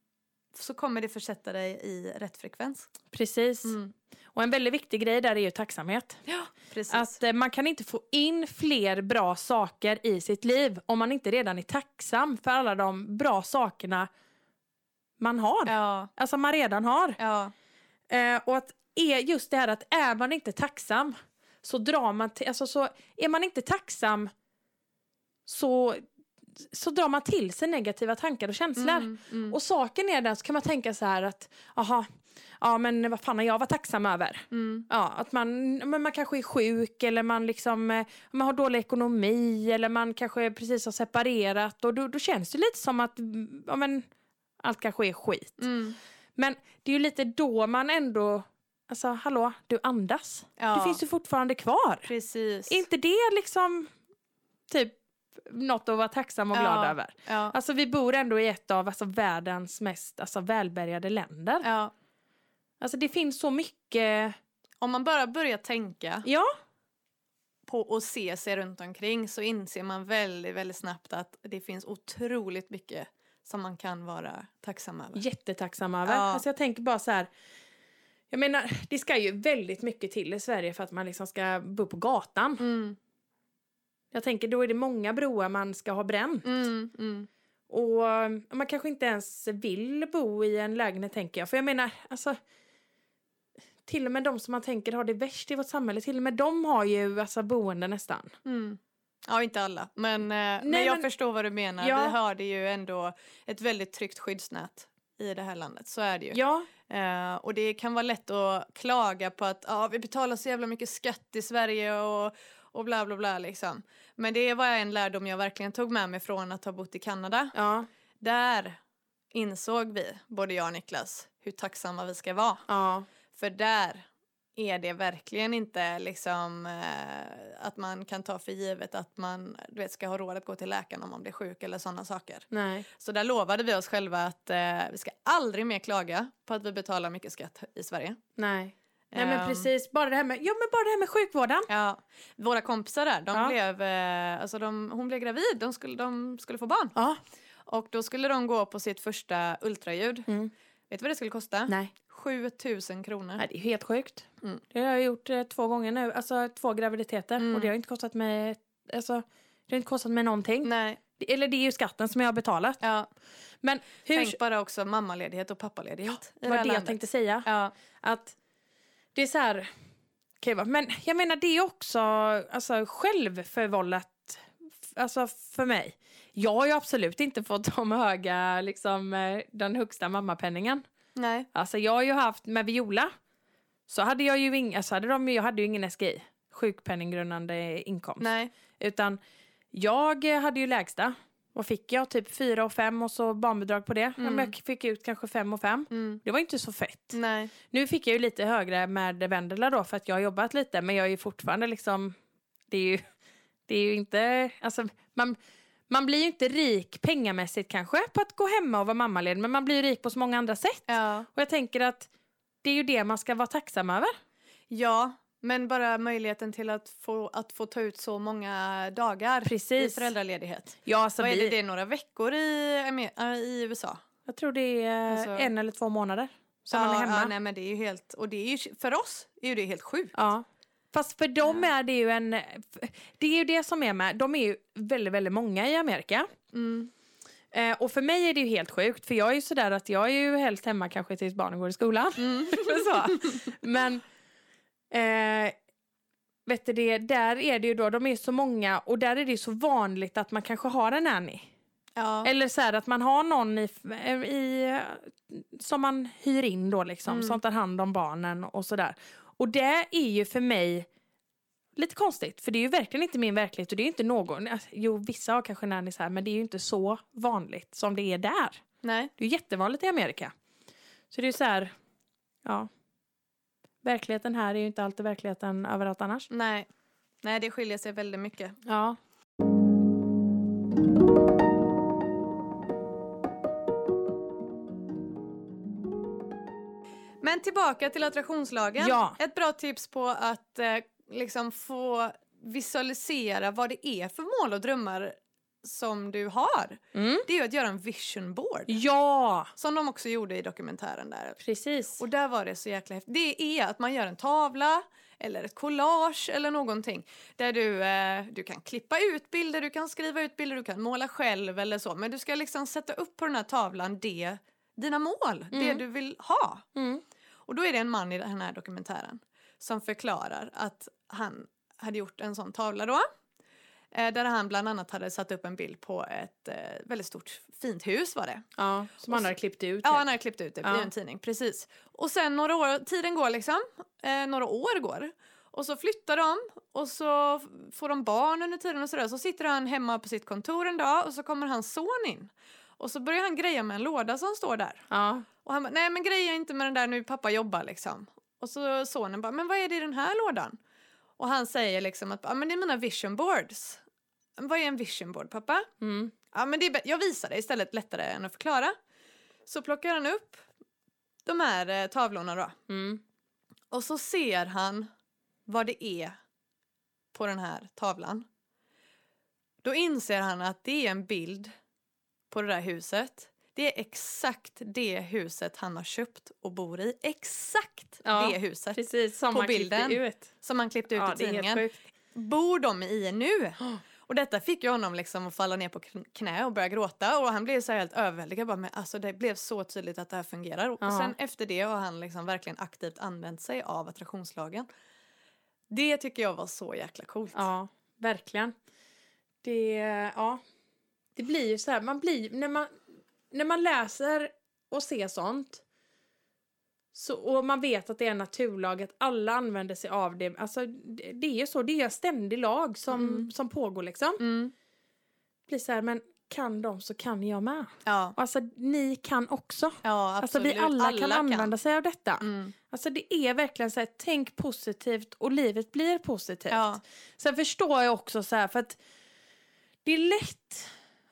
B: så kommer det försätta dig i rätt frekvens.
A: Precis.
B: Mm.
A: Och en väldigt viktig grej där är ju tacksamhet.
B: Ja, precis.
A: Att eh, man kan inte få in fler bra saker i sitt liv om man inte redan är tacksam för alla de bra sakerna man har.
B: ja,
A: Alltså man redan har.
B: ja,
A: Eh, och att är just det här att är man inte tacksam så drar man till, alltså så är man inte tacksam så, så drar man till sig negativa tankar och känslor.
B: mm, mm.
A: Och saken är den så kan man tänka så här att aha, ja men vad fan har jag varit tacksam över?
B: Mm.
A: Ja, att man, men man kanske är sjuk eller man, liksom, eh, man har dålig ekonomi eller man kanske precis har separerat och då, då känns det lite som att mm, ja, men, allt kanske är skit.
B: Mm.
A: Men det är ju lite då man ändå, alltså hallå, du andas.
B: Ja,
A: Du finns ju fortfarande kvar.
B: precis.
A: Är inte det liksom typ något att vara tacksam och
B: Ja.
A: glad över?
B: ja.
A: Alltså vi bor ändå i ett av alltså, världens mest alltså, välbärgade länder.
B: ja.
A: Alltså det finns så mycket,
B: Om man bara börjar tänka
A: ja.
B: på och se sig runt omkring så inser man väldigt, väldigt snabbt att det finns otroligt mycket som man kan vara tacksam över.
A: jättetacksam över.
B: Ja.
A: Alltså jag tänker bara så här. Jag menar, det ska ju väldigt mycket till i Sverige för att man liksom ska bo på gatan.
B: Mm,
A: Jag tänker då är det många broar man ska ha bränt.
B: mm, mm.
A: Och um, man kanske inte ens vill bo i en lägenhet tänker jag. För jag menar, alltså. Till och med de som man tänker har det värst i vårt samhälle, till och med de har ju alltså boende nästan.
B: Mm. Ja, inte alla, men, eh, men
A: Nej,
B: jag
A: men-
B: förstår vad du menar.
A: Ja.
B: Vi har det ju ändå ett väldigt tryggt skyddsnät i det här landet, så är det ju.
A: Ja,
B: Eh, och det kan vara lätt att klaga på att ah, vi betalar så jävla mycket skatt i Sverige och, och bla bla bla liksom. Men det var en lärdom jag verkligen tog med mig från att ha bott i Kanada.
A: ja,
B: Där insåg vi, både jag och Niklas, hur tacksamma vi ska vara.
A: ja.
B: För där är det verkligen inte liksom eh, att man kan ta för givet att man du vet, ska ha råd att gå till läkaren om man blir sjuk eller sådana saker.
A: Nej.
B: Så där lovade vi oss själva att eh, vi ska aldrig mer klaga på att vi betalar mycket skatt i Sverige.
A: Nej. Nej men
B: Ehm,
A: precis, bara det här med, ja men bara det här med sjukvården.
B: Ja, våra kompisar där, de
A: Ja.
B: blev, eh, alltså de, hon blev gravid, de skulle, de skulle få barn.
A: Ja.
B: Och då skulle de gå på sitt första ultraljud.
A: Mm.
B: Vet du vad det skulle kosta?
A: Nej.
B: 7 000 kronor.
A: Nej, det är ju helt sjukt.
B: Mm.
A: Det har jag gjort eh, två gånger nu, alltså två graviditeter.
B: Mm.
A: Och det har inte kostat mig, alltså, det har inte kostat mig någonting.
B: Nej.
A: Det- Eller det är ju skatten som jag har betalat.
B: Ja.
A: Men hur,
B: Tänk bara också mammaledighet och pappaledighet. i
A: det var
B: här
A: det jag
B: landet.
A: tänkte säga.
B: Ja,
A: Att det är så här, okej, va, men jag menar det är också alltså, självförvållat f- alltså, för mig. Jag har ju absolut inte fått de höga, liksom, eh, den högsta mammapenningen.
B: nej.
A: Alltså jag har ju haft med Viola. Så hade jag ju ing, alltså hade de, ju- jag hade ju ingen SGI. Sjukpenninggrundande inkomst.
B: nej.
A: Utan jag eh, hade ju lägsta. Vad fick jag? Typ 4 och 5 och så barnbidrag på det.
B: Mm.
A: Men jag fick ut kanske 5 och 5.
B: Mm.
A: Det var inte så fett.
B: Nej.
A: Nu fick jag ju lite högre med Vendela då för att jag har jobbat lite. Men jag är ju fortfarande liksom... Det är ju, det är ju inte... Alltså man, man blir ju inte rik pengamässigt kanske på att gå hemma och vara mammaledig. Men man blir ju rik på så många andra sätt.
B: Ja.
A: Och jag tänker att det är ju det man ska vara tacksam över.
B: ja, men bara möjligheten till att få, att få ta ut så många dagar i
A: Precis.
B: föräldraledighet.
A: Ja, alltså
B: Vad är det,
A: vi,
B: det är några veckor i, Amer- äh, i USA?
A: Jag tror det är eh,
B: Alltså-
A: en eller två månader som
B: ja,
A: man är hemma.
B: Ja, nej, men det är ju helt, och det är ju, för oss är ju det helt sjukt.
A: Ja. Fast för dem är det ju en... Det är ju det som är med. De är ju väldigt, väldigt många i Amerika.
B: Mm.
A: Eh, och för mig är det ju helt sjukt. För jag är ju sådär att jag är ju helst hemma kanske tills barnen går i
B: [LAUGHS]
A: skolan.
B: Mm.
A: [LAUGHS] så. Men... Eh, vet du det, där är det ju då, de är så många och där är det ju så vanligt att man kanske har en nanny.
B: [LAUGHS] Ja.
A: Eller så här att man har någon i, i, som man hyr in då liksom,
B: Mm.
A: som tar hand om barnen och sådär. Och det är ju för mig lite konstigt, för det är ju verkligen inte min verklighet och det är ju inte någon, alltså, jo vissa har kanske nannies här men det är ju inte så vanligt som det är där.
B: Nej.
A: Det är ju jättevanligt i Amerika. Så det är ju så här, ja. Verkligheten här är ju inte alltid verkligheten överallt annars.
B: Nej. Nej, det skiljer sig väldigt mycket.
A: Ja.
B: Men tillbaka till attraktionslagen.
A: Ja.
B: Ett bra tips på att eh, liksom få visualisera vad det är för mål och drömmar som du har.
A: Mm.
B: Det är ju att göra en vision board.
A: Ja,
B: Som de också gjorde i dokumentären där.
A: precis.
B: Och där var det så jäkla häftigt. Det är att man gör en tavla eller ett collage eller någonting. Där du, eh, du kan klippa ut bilder, du kan skriva ut bilder, du kan måla själv eller så. Men du ska liksom sätta upp på den här tavlan det, dina mål, det
A: Mm.
B: du vill ha.
A: Mm.
B: Och då är det en man i den här dokumentären som förklarar att han hade gjort en sån tavla då. Eh, där han bland annat hade satt upp en bild på ett eh, väldigt stort fint hus var det.
A: Ja, som
B: Och
A: han
B: så-
A: hade klippt ut.
B: Ja,
A: typ.
B: han hade klippt ut det
A: Ja.
B: i en tidning. Precis. Och sen några år, tiden går liksom. Eh, några år går. Och så flyttar de och så f- får de barn under tiden och sådär. Så sitter han hemma på sitt kontor en dag och så kommer hans son in. Och så börjar han greja med en låda som står där.
A: ja.
B: Och han bara, nej men greja inte med den där nu, pappa jobbar liksom. Och så sonen bara, men vad är det i den här lådan? Och han säger liksom att, ja men det är mina vision boards. "Men Vad är en vision board pappa?
A: Mm.
B: Ja, men det är bä- jag visar dig istället lättare än att förklara. Så plockar han upp de här eh, tavlorna då.
A: Mm.
B: Och så ser han vad det är på den här tavlan. Då inser han att det är en bild på det där huset. Det är exakt det huset han har köpt och bor i. Exakt
A: Ja,
B: det huset
A: Precis, som
B: På
A: han
B: bilden.
A: klippte ut.
B: som han klippte ut
A: ja,
B: i
A: det är helt
B: tidningen
A: sjukt.
B: bor de
A: [GASPS]
B: i nu? Och detta fick ju honom liksom att falla ner på kn- knä och börja gråta och han blev så här helt överväldigad. Bara, men alltså det blev så tydligt att det här fungerar. Och
A: Ja.
B: sen efter det har han liksom verkligen aktivt använt sig av attraktionslagen. Det tycker jag var så jäkla coolt.
A: Ja, verkligen. Det, ja. det blir ju så här, man blir, när man, när man läser och ser sånt så, och man vet att det är en naturlag, att alla använder sig av det. Alltså, det, det är ju så, det är en ständig lag som,
B: Mm.
A: som pågår liksom.
B: Mm.
A: Det blir så här, men kan de så kan jag med.
B: Ja.
A: Och Alltså ni kan också.
B: ja, absolut.
A: Alltså vi alla, kan använda sig av detta.
B: Mm.
A: Alltså det är verkligen så här, tänk positivt och livet blir positivt.
B: Ja.
A: Sen förstår jag också så här för att det är lätt,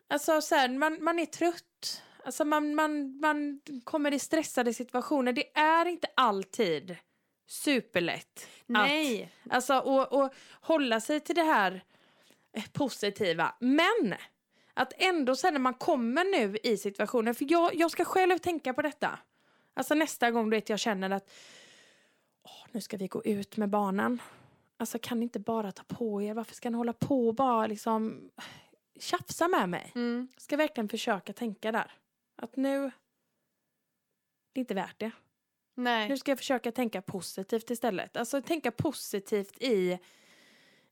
A: alltså så här, man, man är trött, alltså man, man, man kommer i stressade situationer. Det är inte alltid superlätt.
B: Nej.
A: Att, alltså och, och hålla sig till det här eh, positiva. Men att ändå sen när man kommer nu i situationen, för jag, jag ska själv tänka på detta. Alltså nästa gång du vet jag känner att åh, nu ska vi gå ut med barnen. Alltså kan ni inte bara ta på er, varför ska ni hålla på och bara liksom tjafsa med mig?
B: Mm.
A: Ska verkligen försöka tänka där. Att nu, det är inte värt det. Nu
B: Nej.
A: ska jag försöka tänka positivt istället. Alltså tänka positivt i,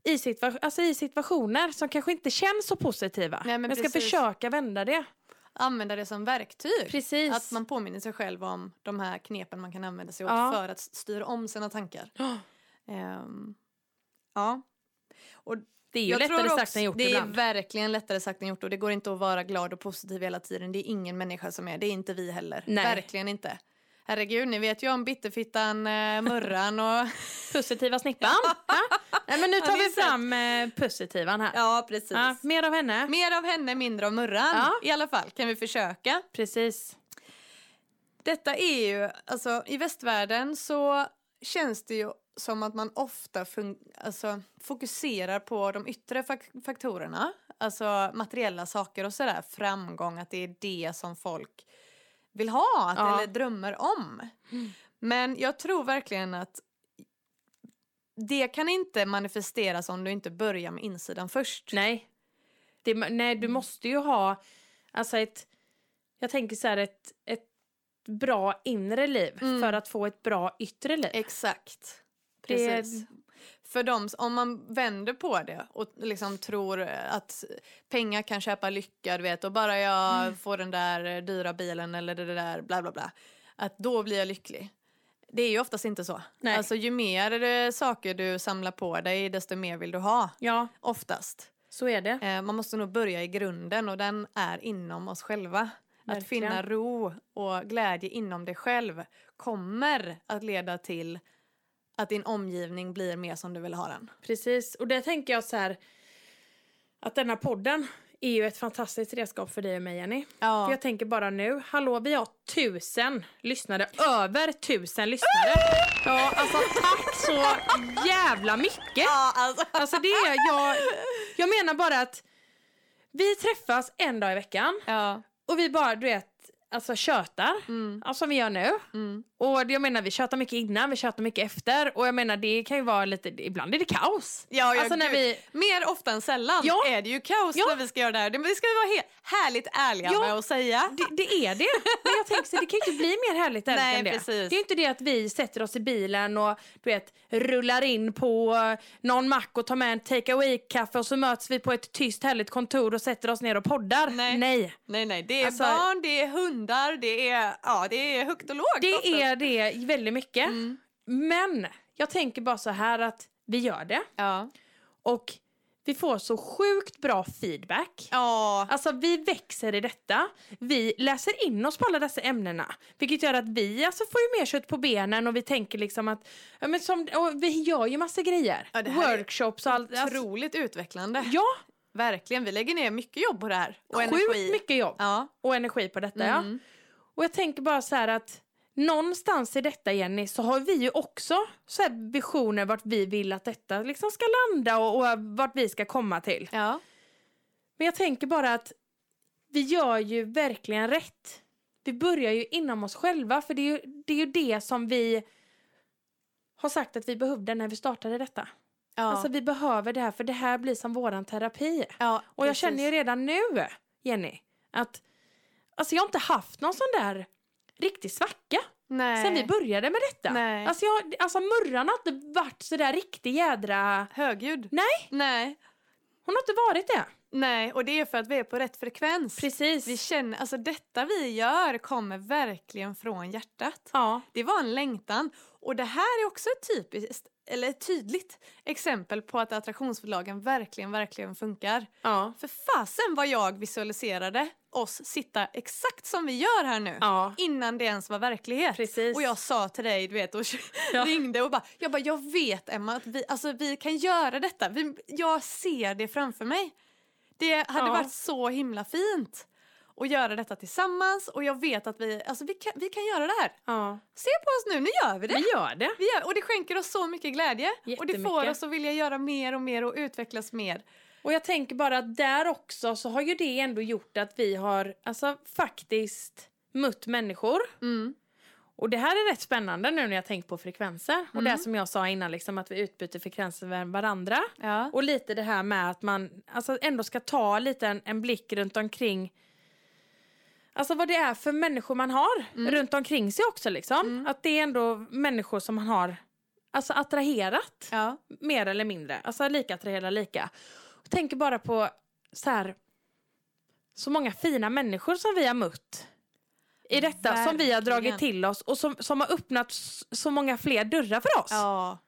A: i, situa- alltså, i situationer som kanske inte känns så positiva.
B: Nej, men
A: jag ska
B: precis.
A: försöka vända det.
B: Använda det som verktyg.
A: Precis.
B: Att man påminner sig själv om de här knepen man kan använda sig av
A: Ja.
B: för att s- styra om sina tankar.
A: Ja.
B: Ehm, ja.
A: Det är ju
B: Jag
A: lättare
B: tror
A: sagt
B: också-
A: än gjort
B: Det
A: ibland.
B: är verkligen lättare sagt än gjort och det går inte att vara glad och positiv hela tiden. Det är ingen människa som är, det är inte vi heller.
A: Nej.
B: Verkligen inte. Herregud, ni vet ju om bitterfittan, eh, murran och...
A: Positiva
B: [LAUGHS]
A: snippan. Ja. Nej, men nu
B: Ja,
A: tar
B: det är
A: vi fram eh, positivan här.
B: ja,
A: [LAUGHS]
B: precis.
A: Ja, mer av henne.
B: Mer av henne, mindre av murran.
A: Ja.
B: I alla fall, kan vi försöka.
A: Precis.
B: Detta är ju, alltså i västvärlden så känns det ju som att man ofta fun- alltså, fokuserar på de yttre fak- faktorerna, alltså materiella saker och sådär, framgång, att det är det som folk vill ha att,
A: Ja.
B: eller drömmer om. Men jag tror verkligen att det kan inte manifesteras om du inte börjar med insidan först.
A: Nej. Det, nej,
B: Mm.
A: du måste ju ha alltså ett, jag tänker så här, ett, ett bra inre liv
B: Mm.
A: för att få ett bra yttre liv.
B: Exakt.
A: Det-
B: Precis. För dem, om man vänder på det och liksom tror att pengar kan köpa lycka, du vet, och bara jag
A: Mm.
B: får den där dyra bilen eller det där bla bla bla, att då blir jag lycklig. Det är ju oftast inte så.
A: Nej.
B: Alltså ju mer eh, saker du samlar på dig, desto mer vill du ha.
A: Ja,
B: Oftast.
A: så är det.
B: Eh, man måste nog börja i grunden och den är inom oss själva. Att
A: Verkligen.
B: finna ro och glädje inom dig själv kommer att leda till att din omgivning blir mer som du vill ha den.
A: Precis, och det tänker jag så här att denna podden är ju ett fantastiskt redskap för dig och mig Jenny. För
B: Ja,
A: jag tänker bara nu, hallå vi har tusen lyssnare, över tusen lyssnare. Ja, alltså tack så jävla mycket.
B: ja alltså.
A: Alltså det är, jag, jag menar bara att vi träffas en dag i veckan
B: Ja,
A: och vi bara, du vet, alltså tjötar,
B: Mm,
A: ja, som vi gör nu.
B: mm,
A: Och jag menar vi tjötar mycket innan, vi tjötar mycket efter. Och jag menar det kan ju vara lite, ibland är det kaos.
B: Ja, ja,
A: alltså när
B: gud.
A: vi,
B: Mer ofta än sällan
A: Ja.
B: är det ju kaos
A: Ja.
B: när vi ska göra det här. Det det ska vi vara he- härligt ärliga
A: Ja.
B: med att säga.
A: det, det är det. Men jag tänker så det kan ju inte bli mer härligt än
B: Nej,
A: än det.
B: precis.
A: Det är ju inte det att vi sätter oss i bilen och du vet, rullar in på eh, någon mack och tar med en take away-kaffe och så möts vi på ett tyst härligt kontor och sätter oss ner och poddar.
B: Nej.
A: Nej.
B: Nej, nej, det är
A: Alltså-
B: barn, det är hundar, det är, ja, det är högt och lågt. oftast.
A: Det är det väldigt mycket.
B: Mm.
A: Men jag tänker bara så här att vi gör det
B: Ja.
A: och vi får så sjukt bra feedback.
B: Ja.
A: Alltså vi växer i detta. Vi läser in oss på alla dessa ämnena. Vilket gör att vi alltså, får ju mer kött på benen och vi tänker liksom att... Ja, men som, och vi gör ju massa grejer.
B: Ja, det här är
A: Workshops och allt. Alltså,
B: Otroligt utvecklande.
A: ja,
B: Verkligen, vi lägger ner mycket jobb på det här. Och energi.
A: sjukt mycket jobb
B: Ja.
A: och energi på detta. Ja.
B: Mm.
A: Och jag tänker bara så här att någonstans i detta Jenny så har vi ju också så här visioner vart vi vill att detta liksom ska landa och, och vart vi ska komma till.
B: ja.
A: Men jag tänker bara att vi gör ju verkligen rätt. Vi börjar ju inom oss själva för det är ju det, är ju det som vi har sagt att vi behövde när vi startade detta.
B: Ja.
A: Alltså vi behöver det här för det här blir som våran terapi.
B: ja.
A: Och jag känner ju redan nu, Jenny, att alltså jag har inte haft någon sån där riktig svacka
B: Nej.
A: sen vi började med detta.
B: Nej.
A: Alltså, jag, alltså murran har inte varit så där riktig jädra...
B: Högljudd.
A: Nej.
B: Nej.
A: Hon har inte varit det.
B: Nej, och det är för att vi är på rätt frekvens.
A: Precis.
B: Vi känner, alltså detta vi gör kommer verkligen från hjärtat.
A: Ja.
B: Det var en längtan. Och det här är också ett typiskt, eller ett tydligt exempel på att attraktionsförlagen verkligen, verkligen funkar.
A: Ja.
B: För fasen vad jag visualiserade oss sitta exakt som vi gör här nu.
A: Ja.
B: Innan det ens var verklighet.
A: Precis.
B: Och jag sa till dig, du vet, och [LAUGHS]
A: Ja.
B: ringde och bara, jag bara, jag vet Emma att vi, alltså, vi kan göra detta. Vi, jag ser det framför mig. Det hade
A: Ja.
B: varit så himla fint att göra detta tillsammans och jag vet att vi, alltså, vi, kan, vi kan göra det här.
A: ja.
B: Se på oss nu, nu gör vi det.
A: Vi gör det.
B: Vi gör, och det skänker oss så mycket glädje och det får
A: Jättemycket.
B: oss att vilja göra mer och mer och utvecklas mer.
A: Och jag tänker bara att där också så har ju det ändå gjort att vi har alltså faktiskt mött människor.
B: Mm.
A: Och det här är rätt spännande nu när jag tänker på frekvenser. Och
B: Mm.
A: det som jag sa innan liksom att vi utbyter frekvenser med varandra.
B: Ja.
A: Och lite det här med att man alltså, ändå ska ta lite en, en blick runt omkring Alltså vad det är för människor man har runt omkring sig också liksom. Att det är ändå människor som man har alltså, attraherat
B: Ja.
A: mer eller mindre. Alltså lika attraherar lika. Jag tänker bara på så här så många fina människor som vi har mött i detta som vi har
B: Verkligen.
A: dragit till oss och som, som har öppnat s- så många fler dörrar för oss.
B: Ja.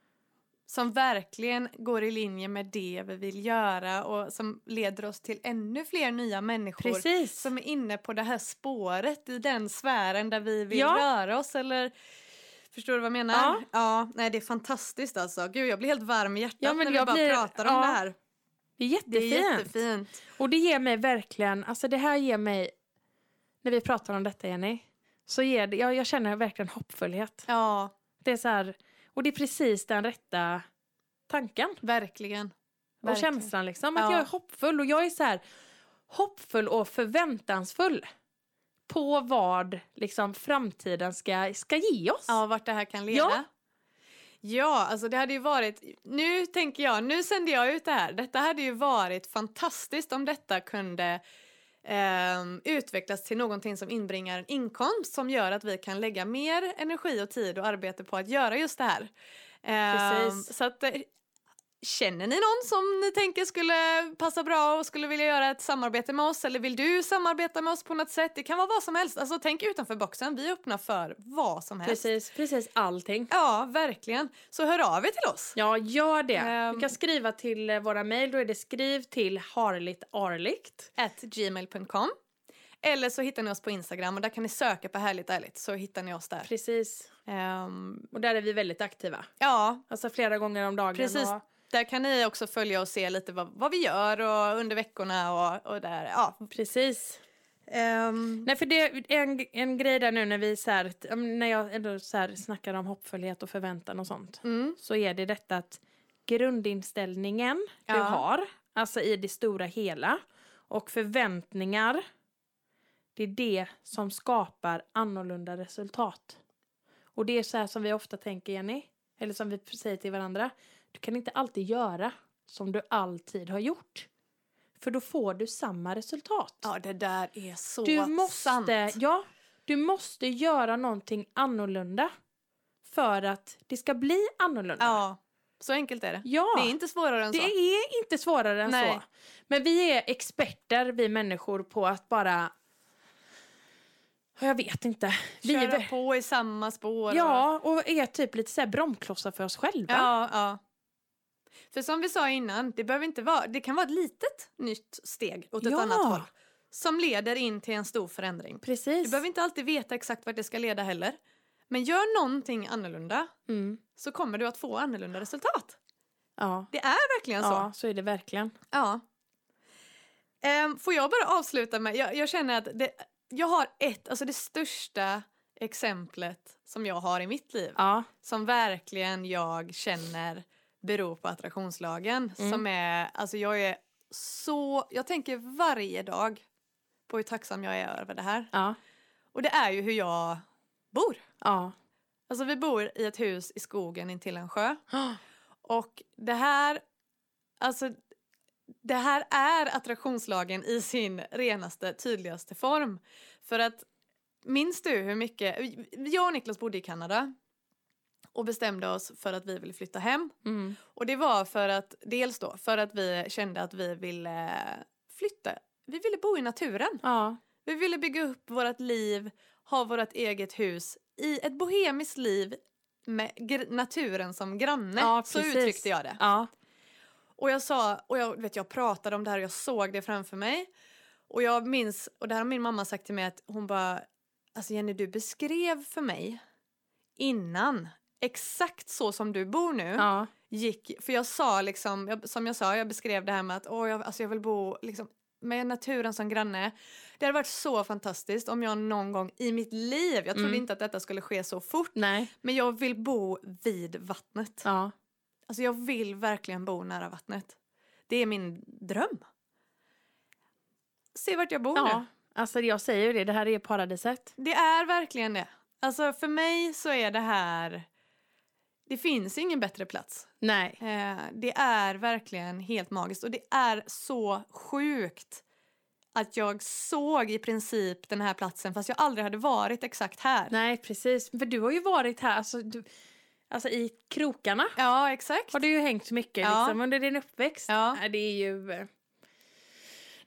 B: Som verkligen går i linje med det vi vill göra och som leder oss till ännu fler nya människor.
A: Precis.
B: Som är inne på det här spåret i den sfären där vi vill
A: Ja.
B: röra oss eller Förstår du vad jag menar?
A: Ja.
B: nej det är fantastiskt alltså. Gud jag blir helt varm i hjärtat
A: Ja, men
B: när vi
A: jag
B: bara
A: blir-
B: pratar om
A: ja.
B: det här.
A: det är jättefint.
B: Det är jättefint.
A: Och det ger mig verkligen, alltså det här ger mig, när vi pratar om detta Jenny, så ger det, jag, jag känner verkligen hoppfullhet.
B: Ja,
A: Det är så här, och det är precis den rätta tanken.
B: verkligen.
A: Och
B: Verkligen.
A: känslan liksom. Att
B: Ja.
A: jag är hoppfull. Och jag är så här hoppfull och förväntansfull. På vad liksom framtiden ska, ska ge oss.
B: Ja, vart det här kan leda. Ja.
A: Ja.
B: alltså det hade ju varit, nu tänker jag, nu sände jag ut det här. Detta hade ju varit fantastiskt om detta kunde ehm, utvecklas till någonting som inbringar en inkomst som gör att vi kan lägga mer energi och tid och arbete på att göra just det här. Ehm,
A: Precis.
B: Så att, eh, känner ni någon som ni tänker skulle passa bra och skulle vilja göra ett samarbete med oss eller vill du samarbeta med oss på något sätt? Det kan vara vad som helst. Alltså tänk utanför boxen. Vi öppnar för vad som helst.
A: precis, precis allting.
B: Ja, verkligen. Så hör av er till oss.
A: Ja, gör det.
B: Ehm.
A: Du kan skriva till eh, våra mejl. Då är det skriv till harlitarligt.
B: At gmail.com. Eller så hittar ni oss på Instagram och där kan ni söka på Härligt Ärligt så hittar ni oss där.
A: Precis.
B: Ehm,
A: Och där är vi väldigt aktiva.
B: ja,
A: Alltså flera gånger om dagen.
B: precis.
A: Och,
B: Där kan ni också följa och se lite vad, vad vi gör och under veckorna och, och där. Ja.
A: precis.
B: Ehm,
A: Nej, för det är en, en grej där nu när vi så här, ja, men när jag ändå så här snackar om hoppfullhet och förväntan och sånt.
B: mm,
A: så är det detta att grundinställningen
B: Ja.
A: du har, alltså i det stora hela, och förväntningar Det är det som skapar annorlunda resultat. Och det är så här som vi ofta tänker, Jenny. Eller som vi säger till varandra. Du kan inte alltid göra som du alltid har gjort. För då får du samma resultat.
B: Ja, det där är så
A: du måste,
B: sant.
A: Ja, du måste göra någonting annorlunda. För att det ska bli annorlunda.
B: Ja, så enkelt är det.
A: Ja.
B: Det är inte svårare än
A: Det
B: så.
A: är inte svårare än
B: Nej.
A: så. Men vi är experter, vi människor, på att bara... Jag vet inte. Vi är...
B: Köra
A: vä-
B: på i samma spår. och-
A: Ja, och är typ lite så här bromklossar för oss själva.
B: ja, ja. För som vi sa innan, det, behöver inte vara, det kan vara ett litet nytt steg åt ett
A: Ja.
B: annat håll. Som leder in till en stor förändring. Du
A: Precis.
B: behöver inte alltid veta exakt vart det ska leda heller. Men gör någonting annorlunda
A: Mm.
B: så kommer du att få annorlunda resultat.
A: Ja.
B: Det är verkligen så.
A: ja, så är det verkligen.
B: Ja. Ehm, får jag bara avsluta med, jag, jag känner att det, jag har ett, alltså det största exemplet som jag har i mitt liv.
A: Ja.
B: Som verkligen jag känner beror på attraktionslagen.
A: Mm.
B: Som är, alltså jag är så, jag tänker varje dag på hur tacksam jag är över det här.
A: Ja.
B: Och det är ju hur jag bor. [GASPS]
A: Ja.
B: Alltså vi bor i ett hus i skogen intill en sjö. Och det här, alltså det här är attraktionslagen i sin renaste, tydligaste form. För att minns du hur mycket, jag och Niklas bodde i Kanada och bestämde oss för att vi ville flytta hem.
A: Mm.
B: Och det var för att, dels då, för att vi kände att vi ville flytta, vi ville bo i naturen.
A: Ja.
B: Vi ville bygga upp vårt liv, ha vårt eget hus i ett bohemiskt liv med gr- naturen som granne.
A: ja,
B: så
A: precis.
B: uttryckte jag det.
A: Ja.
B: Och jag sa, och jag, vet, jag pratade om det här och jag såg det framför mig. Och jag minns, och det här har min mamma sagt till mig att hon bara, alltså Jenny du beskrev för mig innan exakt så som du bor nu
A: Ja.
B: gick, för jag sa liksom, jag, som jag sa, jag beskrev det här med att åh, jag, alltså jag vill bo liksom, med naturen som granne. Det hade varit så fantastiskt om jag någon gång i mitt liv, jag trodde
A: Mm.
B: inte att detta skulle ske så fort,
A: Nej.
B: men jag vill bo vid vattnet.
A: Ja.
B: Alltså jag vill verkligen bo nära vattnet. Det är min dröm. Se vart jag bor nu.
A: Ja. Alltså jag säger ju det, det här är paradiset.
B: Det är verkligen det. Alltså för mig så är det här, det finns ingen bättre plats.
A: Nej.
B: Eh, det är verkligen helt magiskt och det är så sjukt att jag såg i princip den här platsen fast jag aldrig hade varit exakt här.
A: Nej, precis. För du har ju varit här, alltså, du, alltså i krokarna.
B: Ja, exakt.
A: har du ju hängt mycket
B: Ja.
A: liksom, under din uppväxt.
B: Ja.
A: Nej, det är ju... eh,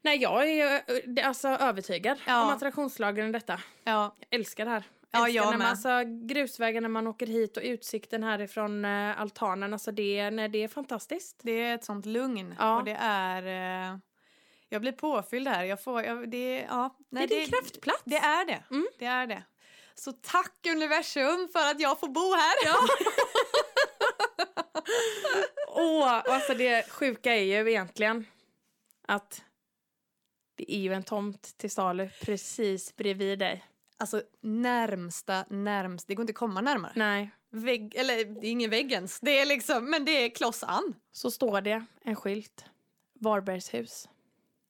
A: Nej, jag är eh, det- alltså, övertygad
B: Ja.
A: om attraktionslagen i detta.
B: Ja,
A: Jag älskar det här.
B: Ja,
A: älskar
B: jag
A: när man,
B: med.
A: alltså, grusvägen när man åker hit och utsikten härifrån eh, altanen. Alltså det, nej, det är fantastiskt.
B: det är ett sånt lugn
A: Ja.
B: och det är... Eh, jag blir påfylld här. Jag får, jag, det, ja, nej,
A: det är din kraftplats.
B: Det är det.
A: Mm.
B: det är det. Så tack universum för att jag får bo här.
A: Åh, och alltså det sjuka är ju egentligen att det är ju en tomt till salu precis bredvid dig.
B: [LAUGHS] Alltså närmsta, närmst. Det går inte att komma närmare.
A: Nej,
B: Vägg, eller det är ingen väggens, det är liksom, men det är kloss an.
A: så står det en skylt. Varbergshus.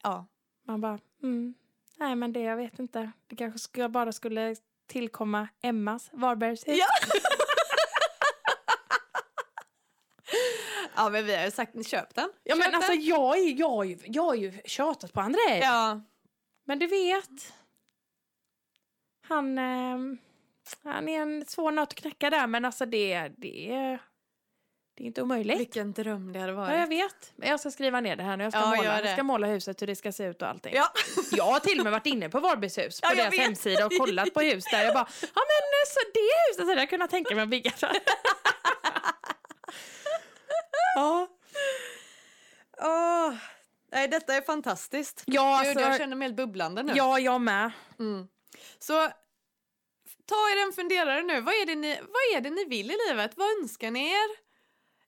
B: Ja.
A: Man bara, mm, nej men det jag vet inte. Det kanske skulle, jag bara skulle tillkomma Emmas Varbergshus.
B: Ja. ja men vi har ju sagt, köp den.
A: Ja, men
B: Köp
A: alltså
B: den.
A: jag, är, jag, har ju, jag har ju tjatat på Andrej.
B: Ja,
A: Men du vet, han, ehm, han är en svår nöt att knäcka där men alltså det, det, är- det är inte omöjligt.
B: vilken dröm det hade
A: Ja, jag
B: varit.
A: vet. Men jag ska skriva ner det här nu. Jag ska,
B: Ja,
A: måla.
B: gör
A: Jag
B: det.
A: ska måla huset hur det ska se ut och allting.
B: Ja,
A: Jag har till och med varit inne på Varbergs hus på
B: Ja, jag
A: deras
B: vet.
A: hemsida och kollat på hus där. Jag bara, ja men eh, så det huset hade jag kunnat tänka mig att bygga där. ja.
B: [LAUGHS] Åh. nej detta är fantastiskt.
A: [LAUGHS] Ja,
B: Gud,
A: alltså,
B: jag känner mig helt bubblande nu.
A: ja, jag med.
B: Mm. Så ta er en funderare nu, vad är, det ni, vad är det ni vill i livet? Vad önskar ni er?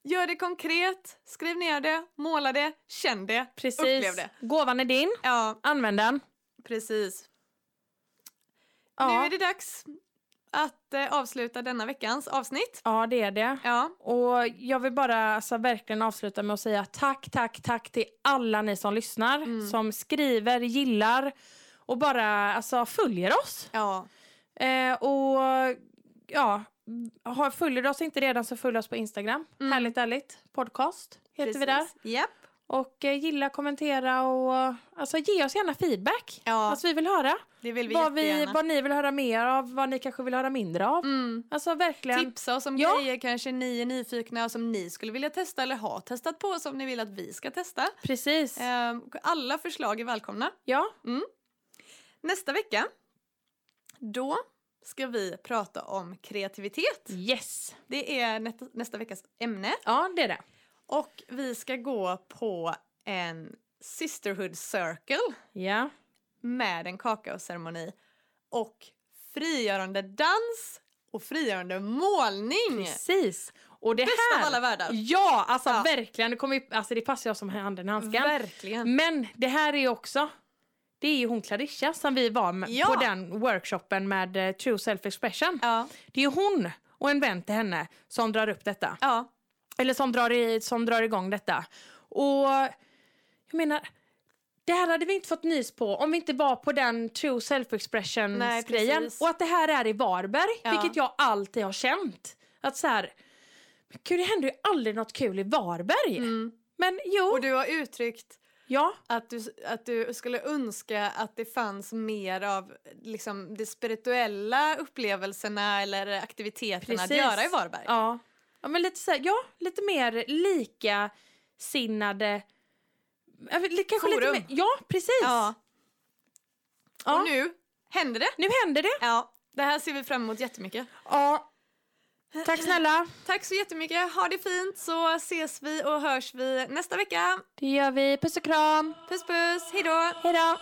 B: Gör det konkret, skriv ner det, måla det, känn det, upplev
A: Precis.
B: det.
A: Gåvan är din.
B: Ja,
A: Använd den.
B: precis. Nu
A: Ja,
B: är det dags att eh, avsluta denna veckans avsnitt.
A: ja det är det.
B: Ja,
A: Och jag vill bara alltså, verkligen avsluta med att Mm. säga tack, tack, tack till alla ni som lyssnar, som skriver, gillar och bara alltså, följer oss.
B: Ja.
A: Eh, och ja, har, följer du oss inte redan så följ oss på Instagram.
B: Mm.
A: Härligt ärligt podcast heter vi där.
B: precis. Japp.
A: Och eh, gilla, kommentera och alltså, ge oss gärna feedback.
B: Ja,
A: Alltså, vi vill höra
B: det vill vi
A: vad, vi,
B: jättegärna.
A: vad ni vill höra mer av, vad ni kanske vill höra mindre av.
B: Mm.
A: Alltså verkligen.
B: Tipsa oss om
A: Ja.
B: grejer kanske ni är nyfikna och som ni skulle vilja testa eller har testat på som ni vill att vi ska testa.
A: Precis.
B: Ehm, Alla förslag är välkomna.
A: Ja.
B: Nästa vecka, då ska vi prata om kreativitet.
A: Yes.
B: Det är nä- nästa veckas ämne.
A: Ja, det är det.
B: Och vi ska gå på en Sisterhood Circle
A: Ja.
B: med en kakaoceremoni och frigörande dans och frigörande målning.
A: Precis. Och det
B: Bäst
A: här...
B: av alla världar.
A: Ja, alltså
B: Ja.
A: verkligen. Det, kommer ju, alltså, det passar jag som handen i handsken.
B: Verkligen.
A: Men det här är ju också... Det är ju hon Clarissa som vi var med
B: Ja.
A: på den workshopen med eh, True Self Expression.
B: Ja,
A: Det är ju hon och en vän till henne som drar upp detta.
B: ja.
A: Eller som drar, i, som drar igång detta. Och jag menar, det här hade vi inte fått nys på om vi inte var på den true
B: Nej,
A: self-expression-grejen.
B: precis.
A: Och att det här är i Varberg,
B: Ja.
A: vilket jag alltid har känt. Att så här, men gud det händer ju aldrig något kul i Varberg.
B: Mm.
A: Men jo,
B: Och du har uttryckt
A: ja,
B: att du, att du skulle önska att det fanns mer av liksom, de spirituella upplevelserna eller aktiviteterna
A: Precis.
B: att göra i Varberg.
A: ja. Ja, men lite så här, ja, lite mer likasinnade... ja, li- Kanske lite
B: Forum.
A: mer, ja, precis.
B: Ja.
A: Ja.
B: Och nu händer det!
A: Nu händer det.
B: Ja, det här ser vi fram emot jättemycket.
A: Ja. Tack snälla.
B: Tack så jättemycket, ha det fint så ses vi och hörs vi nästa vecka.
A: Det gör vi. Puss och kram.
B: Puss puss, hejdå!
A: Hej då!